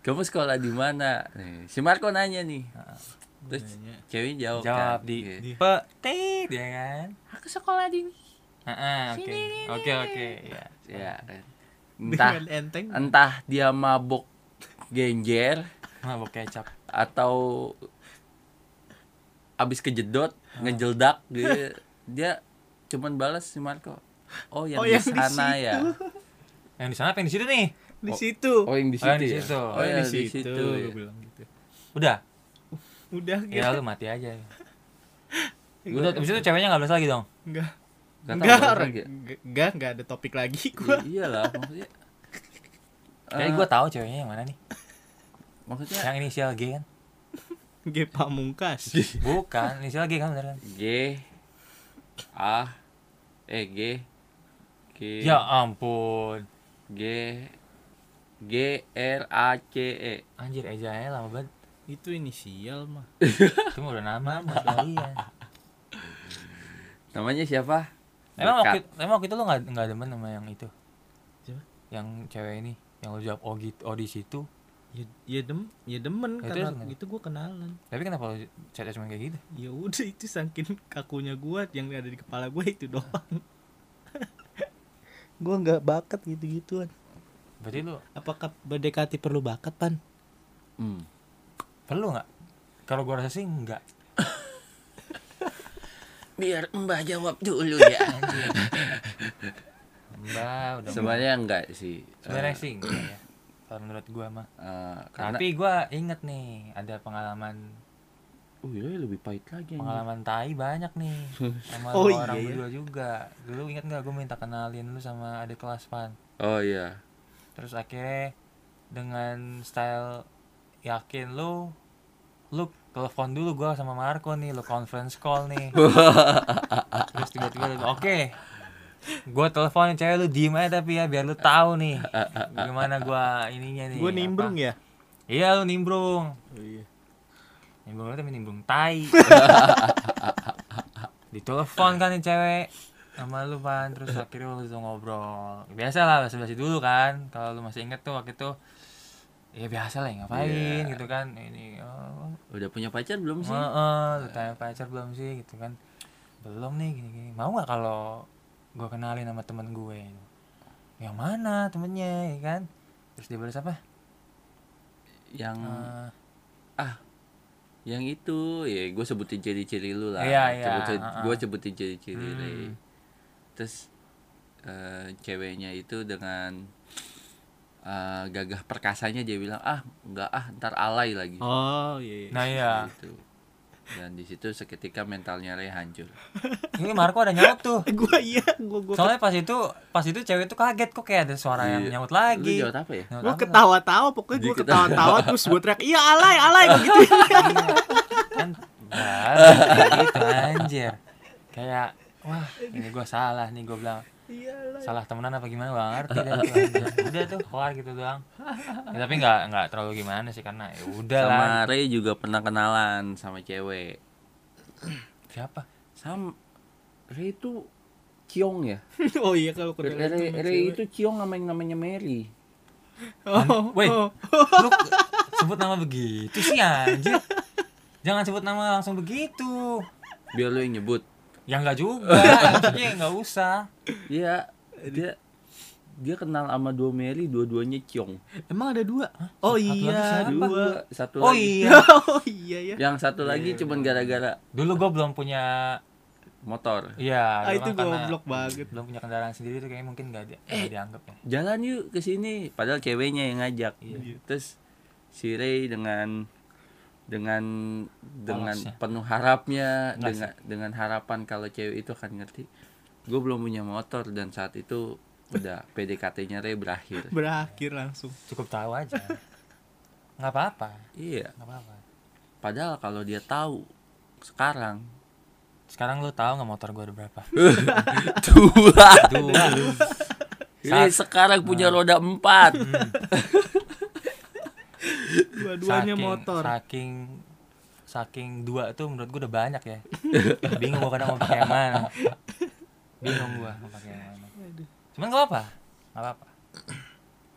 [SPEAKER 2] kamu sekolah di mana nih, si Marco nanya nih terus
[SPEAKER 3] Nanya.
[SPEAKER 2] cewek Ah, jawab,
[SPEAKER 1] jawab
[SPEAKER 2] kan,
[SPEAKER 1] di
[SPEAKER 2] iya.
[SPEAKER 1] petik ya kan
[SPEAKER 2] aku sekolah di
[SPEAKER 1] Heeh, oke oke oke ya
[SPEAKER 2] ya kan. entah
[SPEAKER 3] dengan enteng
[SPEAKER 2] entah dia mabok genjer
[SPEAKER 1] mabok kecap
[SPEAKER 2] atau abis kejedot ngejeldak dia dia cuman balas si Marco oh yang
[SPEAKER 3] Oh,
[SPEAKER 2] di
[SPEAKER 3] yang di
[SPEAKER 2] sana ya
[SPEAKER 1] yang di sana apa yang di situ nih
[SPEAKER 3] di situ Eh,
[SPEAKER 2] oh yang di
[SPEAKER 1] Oh, yang di
[SPEAKER 2] ya?
[SPEAKER 1] situ.
[SPEAKER 2] oh yang di situ
[SPEAKER 3] gua
[SPEAKER 2] ya.
[SPEAKER 3] bilang gitu
[SPEAKER 1] udah
[SPEAKER 3] udah
[SPEAKER 1] ya
[SPEAKER 3] gitu
[SPEAKER 1] lu mati aja udah abis itu ceweknya nggak beres lagi dong
[SPEAKER 3] enggak
[SPEAKER 2] Gak tau
[SPEAKER 3] enggak
[SPEAKER 2] apa
[SPEAKER 3] orang
[SPEAKER 2] lagi.
[SPEAKER 3] enggak enggak enggak ada topik lagi
[SPEAKER 2] I-
[SPEAKER 3] gua
[SPEAKER 2] iyalah maksudnya
[SPEAKER 1] kayak
[SPEAKER 2] Eh,
[SPEAKER 1] gue tahu ceweknya yang mana nih
[SPEAKER 2] maksudnya
[SPEAKER 1] yang inisial G kan
[SPEAKER 3] G pamungkas
[SPEAKER 1] Iya. bukan inisial G kan bener kan
[SPEAKER 2] G A eh G G
[SPEAKER 1] ya ampun
[SPEAKER 2] G G R A C E
[SPEAKER 1] anjir ejanya lama banget
[SPEAKER 3] itu inisial mah
[SPEAKER 1] itu mah udah nama mas kalian
[SPEAKER 2] namanya siapa
[SPEAKER 1] emang waktu
[SPEAKER 2] Berkat.
[SPEAKER 1] emang waktu itu lu nggak nggak demen sama yang itu
[SPEAKER 3] Siapa?
[SPEAKER 1] yang cewek ini yang lu jawab oh gitu oh di situ
[SPEAKER 3] ya, ya dem ya demen
[SPEAKER 1] Itu
[SPEAKER 3] karena
[SPEAKER 1] harus-
[SPEAKER 3] itu gua kenalan
[SPEAKER 1] tapi kenapa lu chatnya cuma kayak gitu
[SPEAKER 3] ya udah itu saking kakunya gua yang ada di kepala gua itu doang gua nggak bakat gitu gituan
[SPEAKER 1] berarti lu
[SPEAKER 3] Apakah berdekati perlu bakat, Pan?
[SPEAKER 2] Hmm.
[SPEAKER 1] perlu nggak kalau gua rasa sih enggak
[SPEAKER 2] Biar Mbah jawab dulu ya.
[SPEAKER 1] mbak udah
[SPEAKER 2] Sebenarnya enggak sih.
[SPEAKER 1] sebenarnya sih enggak ya kalau menurut gua mah
[SPEAKER 2] Eh, karena
[SPEAKER 1] tapi gua inget nih ada pengalaman
[SPEAKER 2] oh iya lebih pahit lagi anjing.
[SPEAKER 1] pengalaman tai banyak nih sama
[SPEAKER 3] Oh
[SPEAKER 1] lu
[SPEAKER 3] iya
[SPEAKER 1] orang
[SPEAKER 3] ya?
[SPEAKER 1] berdua juga dulu inget nggak gua minta kenalin lu sama adik kelas pan
[SPEAKER 2] Oh iya.
[SPEAKER 1] terus akhirnya dengan style yakin lu lu telepon dulu gua sama Marco nih lu conference call nih terus tiba-tiba lu, oke gua telepon cewek lu diem aja tapi ya biar lu tahu nih gimana gua ininya nih
[SPEAKER 3] Gue nimbrung
[SPEAKER 1] apa.
[SPEAKER 3] ya.
[SPEAKER 1] iya lu nimbrung
[SPEAKER 3] Oh, iya.
[SPEAKER 1] nimbrung lu tapi nimbrung tai ditelepon kan nih cewek sama lu pan terus akhirnya waktu itu ngobrol biasa lah basa basi dulu kan kalau lu masih inget tuh waktu itu ya biasa lah ngapain
[SPEAKER 2] Iya.
[SPEAKER 1] gitu kan ini oh,
[SPEAKER 2] Udah punya pacar belum sih?
[SPEAKER 1] oh, oh, lu tanya pacar belum sih gitu kan belum nih gini gini mau nggak kalau gue kenalin sama temen gue yang mana temennya ya kan terus dia balas apa
[SPEAKER 2] Yang
[SPEAKER 1] Eh,
[SPEAKER 2] ah yang itu ya gue sebutin ciri-ciri lu lah
[SPEAKER 1] Iya, iya, ah,
[SPEAKER 2] gue
[SPEAKER 1] ah.
[SPEAKER 2] sebutin ciri-ciri
[SPEAKER 1] Hmm.
[SPEAKER 2] Rey. terus eh, ceweknya itu dengan eh, gagah perkasanya dia bilang ah nggak ah ntar alay lagi
[SPEAKER 3] Oh iya.
[SPEAKER 1] nah iya
[SPEAKER 2] gitu dan di situ seketika mentalnya Rey hancur
[SPEAKER 1] ini Marco ada nyaut tuh
[SPEAKER 3] gue iya, gue gue
[SPEAKER 1] soalnya pas itu pas itu cewek itu kaget kok kayak ada suara yang
[SPEAKER 2] Iya.
[SPEAKER 1] nyaut
[SPEAKER 2] lu
[SPEAKER 1] lagi
[SPEAKER 2] jawab apa ya
[SPEAKER 1] Nyaut
[SPEAKER 3] gue
[SPEAKER 1] apa?
[SPEAKER 3] ketawa-tawa pokoknya
[SPEAKER 2] Dia
[SPEAKER 3] gue
[SPEAKER 2] ketawa.
[SPEAKER 3] ketawa-tawa terus gue teriak iya alay alay gua gitu
[SPEAKER 1] kan baru kayak gitu anjir kayak wah ini gue salah nih gue bilang
[SPEAKER 3] iya alay
[SPEAKER 1] salah temenan apa gimana gak ngerti deh gua. udah tuh keluar gitu doang ya, tapi nggak nggak terlalu gimana sih karena ya udah lah
[SPEAKER 2] sama Rey juga pernah kenalan sama cewek
[SPEAKER 1] siapa
[SPEAKER 2] sam Rey itu ciong ya
[SPEAKER 3] oh iya kalau
[SPEAKER 2] Rey,
[SPEAKER 3] kedengeran
[SPEAKER 2] Rey-
[SPEAKER 3] sama
[SPEAKER 2] Rey
[SPEAKER 3] cewek.
[SPEAKER 2] itu ciong sama yang namanya Mary
[SPEAKER 3] oh,
[SPEAKER 1] Weh.
[SPEAKER 3] oh.
[SPEAKER 1] lu sebut nama begitu sih anjir jangan sebut nama langsung begitu
[SPEAKER 2] biar lu yang nyebut
[SPEAKER 1] ya nggak juga maksudnya nggak usah
[SPEAKER 2] Iya, dia dia kenal sama dua Mary, dua-duanya ciong.
[SPEAKER 3] emang ada dua oh iya
[SPEAKER 1] lagi
[SPEAKER 2] Dua,
[SPEAKER 3] dua
[SPEAKER 2] satu
[SPEAKER 1] oh
[SPEAKER 2] lagi.
[SPEAKER 1] iya
[SPEAKER 3] oh iya ya
[SPEAKER 2] Yang satu lagi cuman gara-gara
[SPEAKER 1] dulu gue belum punya
[SPEAKER 2] motor.
[SPEAKER 1] Iya,
[SPEAKER 3] ah
[SPEAKER 1] dulu
[SPEAKER 3] itu
[SPEAKER 1] kan karena
[SPEAKER 3] goblok banget Eh.
[SPEAKER 1] belum punya kendaraan sendiri tuh kayaknya mungkin nggak di, nggak dianggap ya.
[SPEAKER 2] Jalan yuk ke sini, padahal ceweknya yang ngajak. Iya. Terus si Ray dengan dengan dengan
[SPEAKER 1] Polosnya.
[SPEAKER 2] penuh harapnya
[SPEAKER 1] Enggak
[SPEAKER 2] dengan dengan harapan kalau cewek itu akan ngerti. Gue belum punya motor dan saat itu udah PDKT-nya Ray berakhir.
[SPEAKER 3] berakhir langsung
[SPEAKER 1] Cukup tahu aja. Nggak apa-apa,
[SPEAKER 2] Iya,
[SPEAKER 1] nggak apa-apa.
[SPEAKER 2] padahal kalau dia tahu sekarang
[SPEAKER 1] Sekarang lu tahu nggak motor gua ada berapa?
[SPEAKER 2] dua
[SPEAKER 1] Dua.
[SPEAKER 2] Ini sekarang punya roda empat.
[SPEAKER 3] dua-duanya
[SPEAKER 1] Saking-
[SPEAKER 3] motor
[SPEAKER 1] Saking saking dua tuh menurut gua udah banyak ya. Bingung gua kadang mau pakai yang mana. Bingung gua mau pakai yang mana. Cuman nggak apa-apa, nggak apa-apa.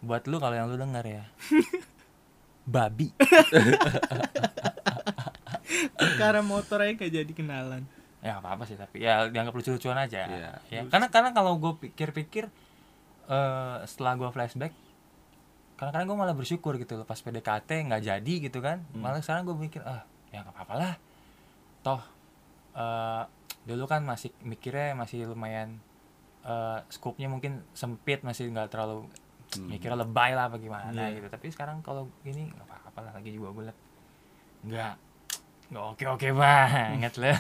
[SPEAKER 1] Buat lu kalau yang lu denger ya. Babi.
[SPEAKER 3] karena motor aja gak jadi kenalan
[SPEAKER 1] ya nggak apa-apa sih tapi ya dianggap lucu-lucuan aja
[SPEAKER 2] Iya.
[SPEAKER 1] ya karena karena kalau gue pikir-pikir eh setelah gue flashback karena kadang gue malah bersyukur gitu loh pas PDKT nggak jadi gitu kan malah sekarang gue mikir ah ya nggak apa-apa lah toh eh dulu kan masih mikirnya masih lumayan eh scope-nya mungkin sempit masih nggak terlalu mikirnya lebay lah apa gimana gitu tapi sekarang kalau gini nggak apa-apa lah lagi juga gue liat nggak nggak oke oke banget loh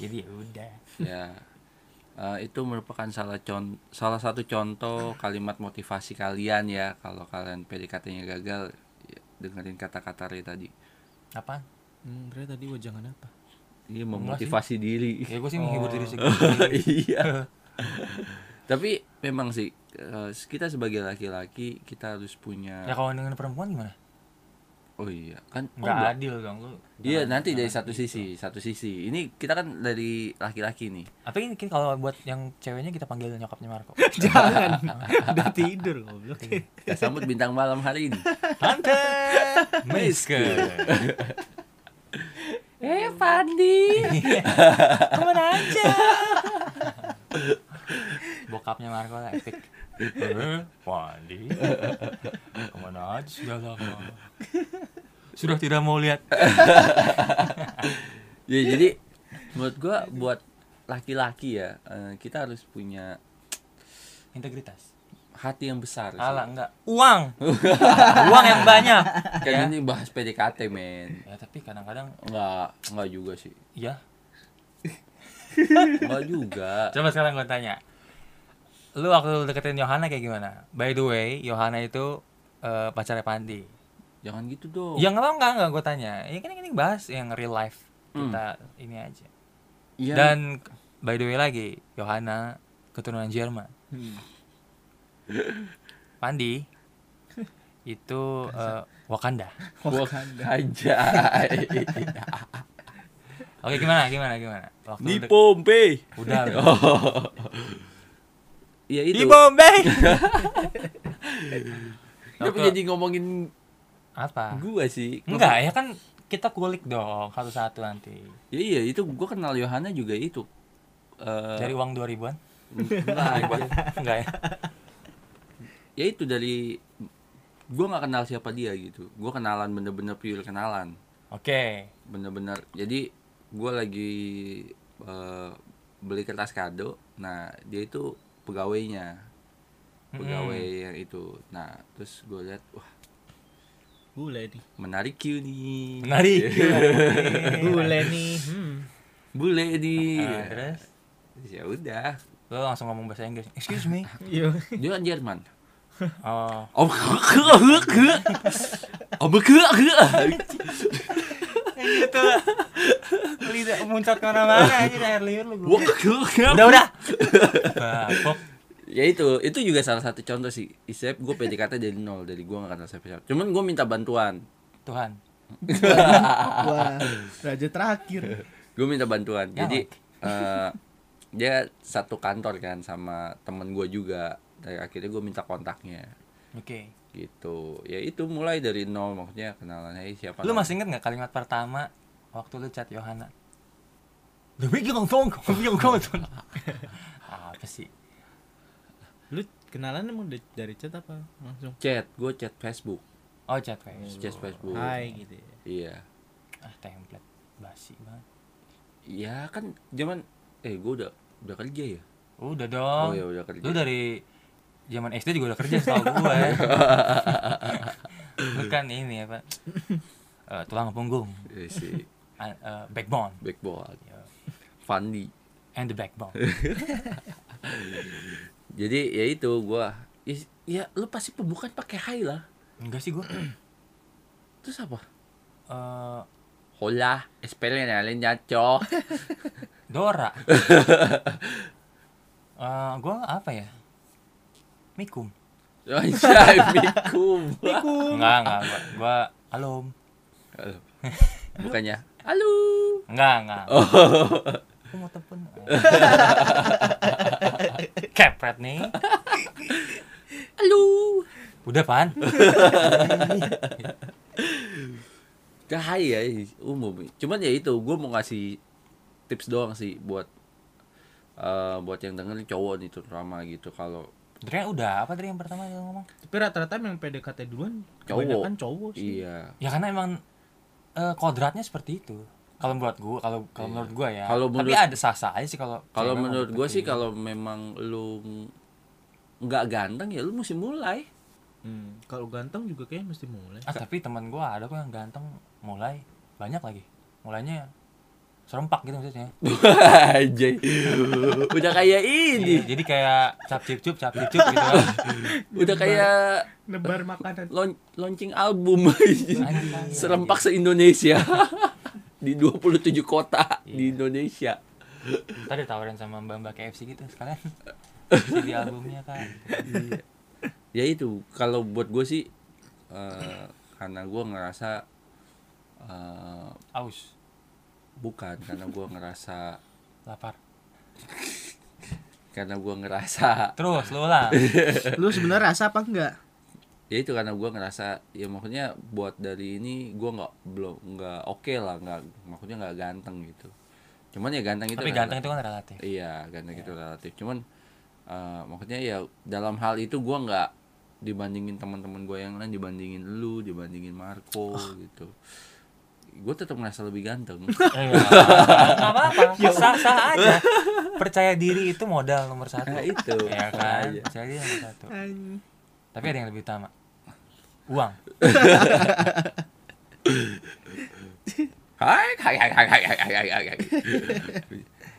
[SPEAKER 1] jadi ya udah
[SPEAKER 2] ya. Eh, itu merupakan salah con- salah satu contoh kalimat motivasi kalian ya kalau kalian PDKT-nya gagal ya, dengerin kata-kata Ray tadi.
[SPEAKER 1] apaan
[SPEAKER 3] hmm, tadi wajangan apa
[SPEAKER 2] Ini memotivasi diri.
[SPEAKER 1] ya gue sih menghibur diri sendiri
[SPEAKER 2] iya. Tapi memang sih eh, kita sebagai laki-laki kita
[SPEAKER 1] ya
[SPEAKER 2] harus punya
[SPEAKER 1] kalau dengan perempuan gimana
[SPEAKER 2] oh iya kan oh,
[SPEAKER 1] nggak
[SPEAKER 2] belum.
[SPEAKER 1] adil dong lu
[SPEAKER 2] Iya nanti
[SPEAKER 1] gitu.
[SPEAKER 2] dari satu sisi, satu sisi. Ini kita kan dari laki-laki nih.
[SPEAKER 1] tapi ini kalau buat yang ceweknya kita panggil nyokapnya Marco
[SPEAKER 3] jangan udah tidur goblok
[SPEAKER 2] Kita sambut bintang malam hari ini.
[SPEAKER 1] tante Miske
[SPEAKER 2] Eh, Fandi.
[SPEAKER 1] kemana aja bokap nyokapnya Marco lah epic Wandi Eh, kemana aja sudah lama sudah tidak mau lihat
[SPEAKER 2] ya jadi menurut gua buat laki-laki ya eh, kita harus punya
[SPEAKER 1] integritas
[SPEAKER 2] hati yang besar sih.
[SPEAKER 1] Alah enggak uang uang yang banyak
[SPEAKER 2] Kan ini bahas PDKT men
[SPEAKER 1] ya tapi kadang-kadang
[SPEAKER 2] Enggak, enggak juga sih
[SPEAKER 1] ya
[SPEAKER 2] Enggak juga
[SPEAKER 1] coba sekarang gue tanya lu waktu deketin Yohana kayak gimana by the way Yohana itu eh, pacarnya Ya, Pandi
[SPEAKER 2] Jangan gitu dong
[SPEAKER 1] yang lo enggak enggak gue tanya ya kan ini bahas yang real life
[SPEAKER 2] Hmm.
[SPEAKER 1] kita ini aja
[SPEAKER 2] Iya.
[SPEAKER 1] Dan by the way lagi, Yohana keturunan Jerman.
[SPEAKER 3] Hmm.
[SPEAKER 1] Pandi itu eh, Wakanda.
[SPEAKER 2] Wakanda aja
[SPEAKER 1] Oke gimana gimana gimana? Waktu
[SPEAKER 2] Di
[SPEAKER 1] dek-
[SPEAKER 2] Pompei
[SPEAKER 1] udah udah.
[SPEAKER 2] Iya
[SPEAKER 1] di
[SPEAKER 2] itu
[SPEAKER 1] Bombay.
[SPEAKER 2] Kenapa
[SPEAKER 1] Oke.
[SPEAKER 2] jadi ngomongin
[SPEAKER 1] Apa?
[SPEAKER 2] gua sih
[SPEAKER 1] Enggak ya kan kita kulik dong satu-satu nanti.
[SPEAKER 2] Ya iya itu gua kenal Yohana juga itu Eh,
[SPEAKER 1] Dari uang 2000-an?
[SPEAKER 2] enggak, gua-
[SPEAKER 1] Enggak ya?
[SPEAKER 2] ya itu dari gua nggak kenal siapa dia gitu gua kenalan bener-bener pure kenalan
[SPEAKER 1] Oke.
[SPEAKER 2] bener-bener jadi gua lagi eh, beli kertas kado nah dia itu pegawainya pegawai yang itu nah terus gua lihat wah
[SPEAKER 3] Bule nih.
[SPEAKER 2] menarik Q nih
[SPEAKER 1] Menarik.
[SPEAKER 3] Eh, Bule nih. Hmm.
[SPEAKER 2] bule nih
[SPEAKER 1] Nah, terus
[SPEAKER 2] ya udah
[SPEAKER 1] lo langsung ngomong bahasa Inggris. Excuse me.
[SPEAKER 3] Yo.
[SPEAKER 2] dia kan Jerman
[SPEAKER 1] Oh,
[SPEAKER 2] om om
[SPEAKER 1] gitu lidah muncat kemana-mana aja air liur lu
[SPEAKER 2] udah udah
[SPEAKER 1] Bapok.
[SPEAKER 2] ya itu itu juga salah satu contoh sih isep gue PDKT dari nol dari gue gak kenal siapa siapa cuman gue minta bantuan
[SPEAKER 1] Tuhan
[SPEAKER 3] Wah, raja terakhir.
[SPEAKER 2] gue minta bantuan
[SPEAKER 1] Ya,
[SPEAKER 2] jadi eh, dia satu kantor kan sama temen gue juga dari akhirnya gue minta kontaknya
[SPEAKER 1] oke
[SPEAKER 2] gitu ya itu mulai dari nol maksudnya kenalan hey siapa
[SPEAKER 1] lu
[SPEAKER 2] nama-
[SPEAKER 1] masih inget nggak kalimat pertama waktu lu chat Yohana The Wiggy Long Song, Wiggy Long Song. Apa sih?
[SPEAKER 3] Lu kenalan emang da- dari chat apa? Langsung.
[SPEAKER 2] chat gue chat Facebook
[SPEAKER 1] Oh chat guys.
[SPEAKER 2] chat Facebook
[SPEAKER 3] Hai gitu ya.
[SPEAKER 2] iya
[SPEAKER 1] Ah template basi banget.
[SPEAKER 2] iya kan zaman eh gue udah udah kerja ya
[SPEAKER 1] Udah dong.
[SPEAKER 2] Oh, iya, udah kerja.
[SPEAKER 1] Lu dari zaman SD juga udah kerja setahu gue. lu kan ini apa? Eh tulang punggung,
[SPEAKER 2] Eh, si
[SPEAKER 1] Ah, eh, backbone,
[SPEAKER 2] backball
[SPEAKER 1] Yo.
[SPEAKER 2] Fandi
[SPEAKER 1] and the backbone.
[SPEAKER 2] jadi ya itu gue ya, ya lu pasti pembukaan pakai hai lah
[SPEAKER 1] Enggak sih gue.
[SPEAKER 2] terus apa
[SPEAKER 1] Eh
[SPEAKER 2] hola esperen alen nyaco
[SPEAKER 1] Dora. Eh gue apa ya? Mikum.
[SPEAKER 2] Assalamualaikum
[SPEAKER 1] Enggak, enggak. Gua, gua alum.
[SPEAKER 2] Halo. bukannya halo
[SPEAKER 1] Enggak, enggak.
[SPEAKER 2] Oh.
[SPEAKER 1] Aku mau telepon. Kepret nih.
[SPEAKER 2] halo
[SPEAKER 1] Udah, Pan.
[SPEAKER 2] udah hai ya umum cuman ya itu gue mau ngasih tips doang sih buat eh, buat yang dengerin cowok nih terutama gitu kalau
[SPEAKER 1] Ternyata udah apa tadi yang pertama yang ngomong?
[SPEAKER 3] Tapi rata-rata yang PDKT duluan
[SPEAKER 2] cowok
[SPEAKER 3] kebanyakan cowok Oh, sih.
[SPEAKER 2] iya
[SPEAKER 1] Ya karena emang eh, kodratnya seperti itu. Kalau buat gua, kalau kalau
[SPEAKER 2] Iya.
[SPEAKER 1] menurut gua ya.
[SPEAKER 2] Kalau
[SPEAKER 1] Tapi
[SPEAKER 2] menurut-
[SPEAKER 1] ada sah-sah aja sih kalau
[SPEAKER 2] kalau
[SPEAKER 1] cewek
[SPEAKER 2] menurut gue sih
[SPEAKER 1] ngomong
[SPEAKER 2] kalau memang lu nggak ganteng ya lu mesti mulai
[SPEAKER 3] Hmm. Kalau ganteng juga kayaknya mesti mulai.
[SPEAKER 1] seperti itu. Ah, tapi teman gua ada kok yang ganteng mulai banyak lagi. Mulainya serempak gitu maksudnya.
[SPEAKER 2] aja udah kayak ini
[SPEAKER 1] Iya, jadi kayak cap cip cup cap cip cup gitu kan.
[SPEAKER 2] udah kayak
[SPEAKER 3] Nebar makanan.
[SPEAKER 2] lon- launching album
[SPEAKER 1] Anjing.
[SPEAKER 2] serempak se Indonesia di 27 kota di Indonesia
[SPEAKER 1] Tadi tawarin sama Mbak Mbak KFC gitu sekalian. Isi di albumnya kan.
[SPEAKER 2] ya itu kalau buat gue sih eh, karena gue ngerasa eh,
[SPEAKER 1] Aus,
[SPEAKER 2] bukan karena gue ngerasa
[SPEAKER 1] lapar.
[SPEAKER 2] karena gue ngerasa
[SPEAKER 1] Terus lu lah.
[SPEAKER 2] Gitu
[SPEAKER 3] Lu sebenarnya rasa apa enggak?
[SPEAKER 2] ya itu karena gue ngerasa ya maksudnya buat dari ini gue nggak belum nggak oke lah nggak maksudnya nggak ganteng gitu cuman ya ganteng itu
[SPEAKER 1] Tapi
[SPEAKER 2] relatif.
[SPEAKER 1] ganteng itu kan relatif.
[SPEAKER 2] iya ganteng itu relatif cuman Eh, maksudnya ya dalam hal itu gua nggak dibandingin teman-teman gue yang lain dibandingin lu dibandingin Marco
[SPEAKER 1] Oh.
[SPEAKER 2] gitu gue tetap merasa lebih
[SPEAKER 1] Eh,
[SPEAKER 2] ganteng
[SPEAKER 1] nggak apa-apa, nggak apa-apa sah sah aja percaya diri itu modal nomor satu
[SPEAKER 2] Nah, itu.
[SPEAKER 1] ya kan
[SPEAKER 2] Makanya.
[SPEAKER 1] percaya diri nomor satu tapi ada yang lebih utama uang
[SPEAKER 2] Hai, hai, hai, hai, hai, hai, hai, hai, hai.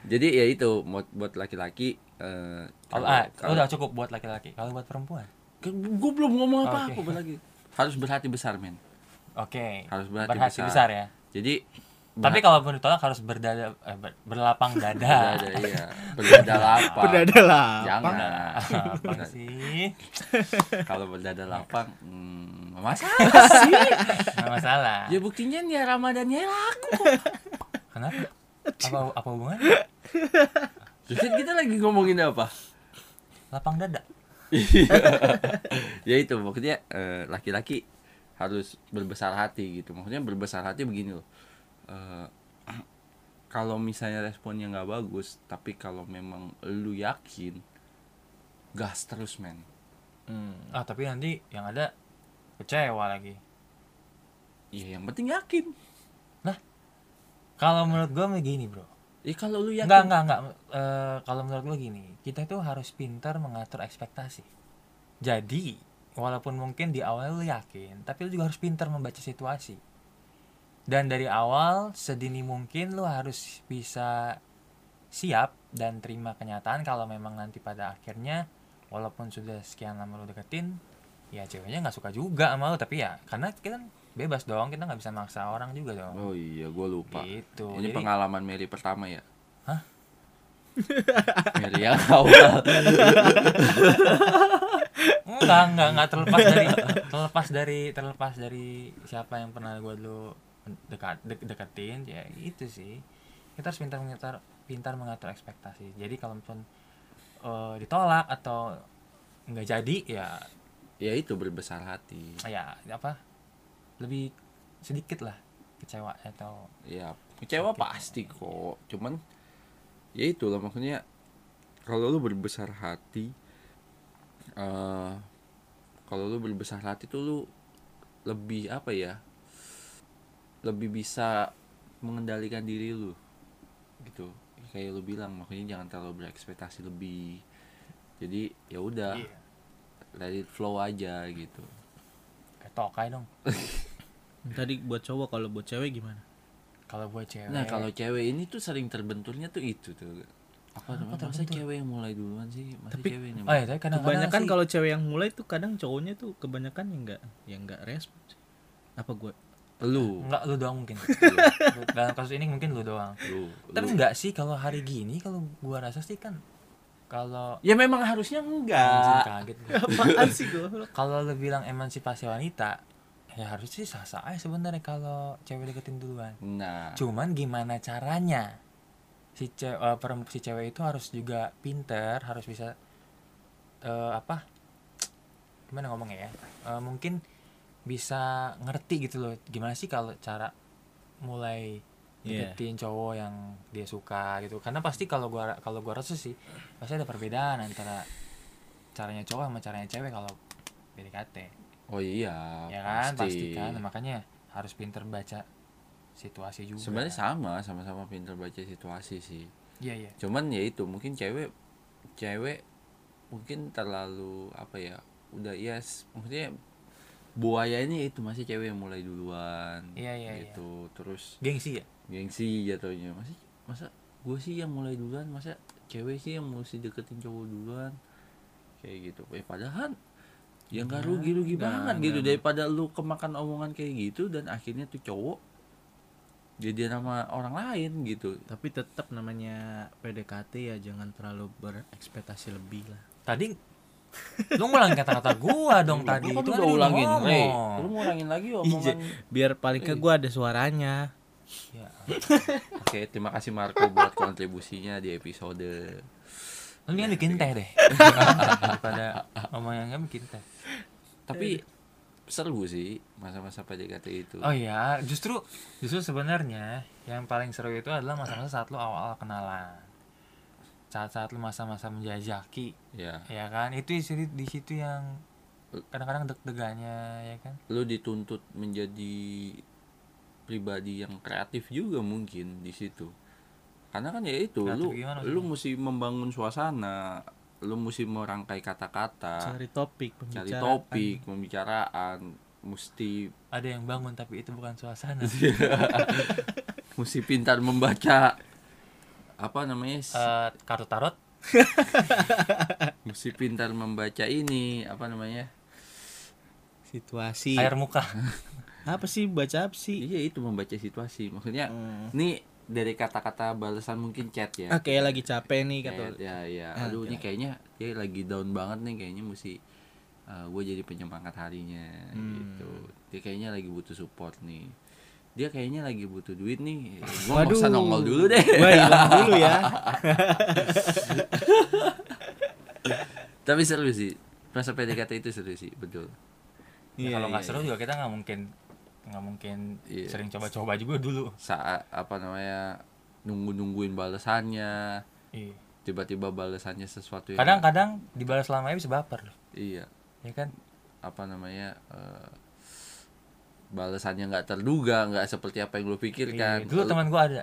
[SPEAKER 2] jadi ya itu buat buat laki-laki eh,
[SPEAKER 1] kalau ah, udah cukup buat laki-laki kalau buat perempuan
[SPEAKER 2] gue belum ngomong apa-apa
[SPEAKER 1] Oke.
[SPEAKER 2] buat laki harus berhati besar men
[SPEAKER 1] oke
[SPEAKER 2] Harus berhati besar.
[SPEAKER 1] besar ya
[SPEAKER 2] jadi
[SPEAKER 1] tapi kalau pun ditolak harus berdada eh, ber- berlapang dada
[SPEAKER 2] Berdada, iya. Berdada lapang.
[SPEAKER 3] Berdada lapang.
[SPEAKER 2] Jangan.
[SPEAKER 1] apa sih
[SPEAKER 2] Kalau berdada lapang, hmm, masa?
[SPEAKER 1] nggak masalah
[SPEAKER 2] Ya buktinya nih Ramadannya laku.
[SPEAKER 1] kenapa apa apa hubungannya
[SPEAKER 2] Terus kita lagi ngomongin apa?
[SPEAKER 1] lapang dada
[SPEAKER 2] Iya. ya itu maksudnya eh, laki-laki harus berbesar hati gitu. Maksudnya berbesar hati begini loh. Eh, kalau misalnya responnya nggak bagus, tapi kalau memang lu yakin, gas terus men.
[SPEAKER 1] ah tapi nanti yang ada kecewa lagi
[SPEAKER 2] Ya yang penting yakin.
[SPEAKER 1] Nah, kalau menurut gue begini bro
[SPEAKER 2] Ya kalau lu yakin.
[SPEAKER 1] Enggak, enggak, enggak. Eh, kalau menurut gue gini, kita itu harus pintar mengatur ekspektasi. Jadi, walaupun mungkin di awal lu yakin, tapi lu juga harus pintar membaca situasi. Dan dari awal, sedini mungkin lu harus bisa siap dan terima kenyataan kalau memang nanti pada akhirnya, walaupun sudah sekian lama lu deketin, ya ceweknya nggak suka juga sama lu. Tapi ya, karena kita kan bebas dong, kita nggak bisa maksa orang juga dong.
[SPEAKER 2] Oh iya, gue lupa.
[SPEAKER 1] Gitu.
[SPEAKER 2] Ini
[SPEAKER 1] Jadi-
[SPEAKER 2] pengalaman Mary pertama ya?
[SPEAKER 1] Hah?
[SPEAKER 2] Mary yang awal.
[SPEAKER 1] Enggak, enggak, enggak terlepas dari terlepas dari terlepas dari siapa yang pernah gue dulu dekat dek- deketin ya itu sih. Kita harus pintar mengatur pintar mengatur ekspektasi. Jadi kalaupun eh, ditolak atau nggak jadi ya
[SPEAKER 2] ya itu berbesar hati.
[SPEAKER 1] ya apa lebih sedikit lah kecewa atau
[SPEAKER 2] Ya kecewa pasti kok. Cuman ya itulah maksudnya kalau lu berbesar hati, eh kalau lu berbesar hati tuh lu lebih apa ya? Lebih bisa mengendalikan diri lu gitu. Kayak lu bilang makanya jangan terlalu berekspektasi lebih. Jadi ya udah. let it flow aja gitu
[SPEAKER 1] kayak tokai dong
[SPEAKER 3] Tadi buat cowok kalau buat cewek gimana?
[SPEAKER 1] kalau buat cewek.
[SPEAKER 2] nah kalau cewek ini tuh sering terbenturnya tuh itu tuh apa namanya masa cewek yang mulai duluan sih masa
[SPEAKER 3] Tapi-
[SPEAKER 2] cewek yang
[SPEAKER 1] oh ya, tapi kadang-kadang
[SPEAKER 3] kebanyakan
[SPEAKER 1] sih-
[SPEAKER 3] kalau cewek yang mulai tuh kadang cowoknya tuh kebanyakan yang enggak yang enggak respon. sih. Apa gue?
[SPEAKER 2] lu
[SPEAKER 1] Enggak, lu doang mungkin. Dalam kasus ini mungkin lu doang.
[SPEAKER 2] lu
[SPEAKER 1] Tapi
[SPEAKER 2] lu.
[SPEAKER 1] enggak sih kalau hari gini kalau gua rasa sih kan kalau
[SPEAKER 2] ya memang harusnya
[SPEAKER 1] Anjing,
[SPEAKER 2] enggak
[SPEAKER 1] kaget gua.
[SPEAKER 3] Apaan sih gue?
[SPEAKER 1] kalau lu bilang emansipasi wanita ya harus sih sah sah aja sebenarnya kalau cewek deketin duluan
[SPEAKER 2] nah
[SPEAKER 1] cuman gimana caranya si cewek si cewek itu harus juga pinter harus bisa eh, apa gimana ngomongnya ya Eh, mungkin bisa ngerti gitu loh gimana sih kalau cara mulai
[SPEAKER 3] Iya.
[SPEAKER 1] deketin cowok yang dia suka gitu karena pasti kalau gua kalau gua rasa sih pasti ada perbedaan antara caranya cowok sama caranya cewek kalau PDKT
[SPEAKER 2] oh iya
[SPEAKER 1] ya kan pasti kan makanya harus pinter baca situasi juga
[SPEAKER 2] sebenarnya sama sama-sama pintar baca situasi sih
[SPEAKER 1] Iya iya.
[SPEAKER 2] cuman ya itu mungkin cewek cewek mungkin terlalu apa ya udah yes maksudnya buayanya itu masih cewek yang mulai duluan
[SPEAKER 1] Iya, iya, iya.
[SPEAKER 2] gitu terus
[SPEAKER 1] Gengsi ya?
[SPEAKER 2] gengsi jatuhnya masih masa gue sih yang mulai duluan masa cewek sih yang mesti deketin cowok duluan kayak gitu eh padahal yang gak rugi rugi banget gitu daripada lu kemakan omongan kayak gitu dan akhirnya tuh cowok jadi nama orang lain gitu
[SPEAKER 3] Tapi tetap namanya PDKT ya jangan terlalu berekspektasi lebih lah.
[SPEAKER 1] Tadi lu ngulang kata-kata gua dong
[SPEAKER 2] Lah,
[SPEAKER 1] tadi
[SPEAKER 2] gua
[SPEAKER 1] itu
[SPEAKER 2] kan
[SPEAKER 1] kan
[SPEAKER 2] udah
[SPEAKER 1] lu
[SPEAKER 2] ulangin
[SPEAKER 1] ngomong.
[SPEAKER 2] Rey. lu mau ulangin lagi
[SPEAKER 3] Iya.
[SPEAKER 2] omongan
[SPEAKER 3] Biar paling ke gue ada suaranya.
[SPEAKER 1] Ya.
[SPEAKER 2] oke terima kasih Marco buat kontribusinya di episode
[SPEAKER 1] Lu mendingan bikin teh deh. Daripada ngomong yang nggak bikin teh.
[SPEAKER 2] tapi seru sih masa-masa PDKT itu
[SPEAKER 1] Oh iya, justru justru sebenarnya yang paling seru itu adalah masa-masa saat lu awal-awal kenalan. saat-saat lu masa-masa menjajaki
[SPEAKER 2] ya
[SPEAKER 1] ya kan itu di situ, di situ yang kadang-kadang deg-degannya ya kan
[SPEAKER 2] lu dituntut menjadi pribadi yang kreatif juga mungkin di situ karena kan ya itu
[SPEAKER 1] Kreatif
[SPEAKER 2] lu
[SPEAKER 1] gimana
[SPEAKER 2] lu mesti membangun suasana lu mesti merangkai
[SPEAKER 1] Ah.
[SPEAKER 2] kata-kata
[SPEAKER 3] cari topik
[SPEAKER 2] cari
[SPEAKER 3] pembicaraan.
[SPEAKER 2] topik pembicaraan mesti
[SPEAKER 1] ada yang bangun tapi itu bukan suasana
[SPEAKER 2] mesti pintar membaca apa namanya s-
[SPEAKER 1] Eh, kartu tarot
[SPEAKER 2] mesti pintar membaca ini apa namanya
[SPEAKER 3] situasi
[SPEAKER 1] air muka
[SPEAKER 3] apa sih baca apa sih
[SPEAKER 2] iya itu membaca situasi maksudnya
[SPEAKER 3] Hmm.
[SPEAKER 2] ini dari kata-kata balasan mungkin chat ya
[SPEAKER 1] Iya.
[SPEAKER 3] ah kayak lagi capek nih kata
[SPEAKER 2] Kayak, ya ya
[SPEAKER 3] Ah,
[SPEAKER 2] aduh ini
[SPEAKER 3] oke.
[SPEAKER 2] kayaknya dia lagi down banget nih kayaknya mesti gue jadi penyemangat harinya gitu dia kayaknya lagi butuh support nih dia kayaknya lagi butuh duit nih gue nggak usah nongol dulu deh
[SPEAKER 3] Gua hilang dulu ya
[SPEAKER 2] tapi seru sih masa PDKT itu seru sih betul
[SPEAKER 1] Ya,
[SPEAKER 3] Iya,
[SPEAKER 1] kalau nggak
[SPEAKER 3] iya,
[SPEAKER 1] seru juga kita nggak mungkin nggak mungkin
[SPEAKER 2] Iya.
[SPEAKER 1] sering coba-coba juga dulu
[SPEAKER 2] saat apa namanya nunggu nungguin balasannya
[SPEAKER 1] Iya.
[SPEAKER 2] tiba-tiba balasannya
[SPEAKER 3] Iya.
[SPEAKER 2] sesuatu yang
[SPEAKER 1] kadang-kadang dibalas lamanya bisa baper loh
[SPEAKER 2] iya
[SPEAKER 1] ya kan
[SPEAKER 2] apa namanya eh, balasannya nggak terduga nggak seperti apa yang
[SPEAKER 1] Iya,
[SPEAKER 2] lo
[SPEAKER 3] kan?
[SPEAKER 2] pikirkan
[SPEAKER 1] dulu
[SPEAKER 2] Lu-
[SPEAKER 1] teman gua ada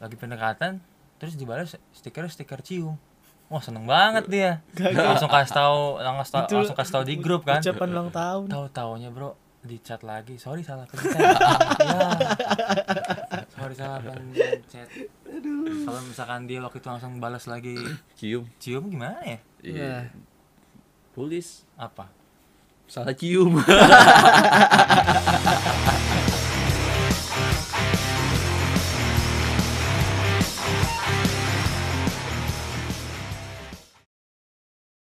[SPEAKER 1] lagi pendekatan terus dibalas stiker stiker cium wah seneng banget
[SPEAKER 3] Iya.
[SPEAKER 1] dia langsung kasih tahu langsung
[SPEAKER 3] Itu
[SPEAKER 1] langsung kasih tahu di grup kan
[SPEAKER 3] ucapan ulang tahun
[SPEAKER 1] tahu taunya bro dicat lagi sorry salah pencet ya. sorry salah pencet kalau misalkan dia waktu itu langsung balas lagi
[SPEAKER 2] cium
[SPEAKER 1] cium gimana ya
[SPEAKER 2] Iya. Tulis
[SPEAKER 1] apa
[SPEAKER 2] salah cium.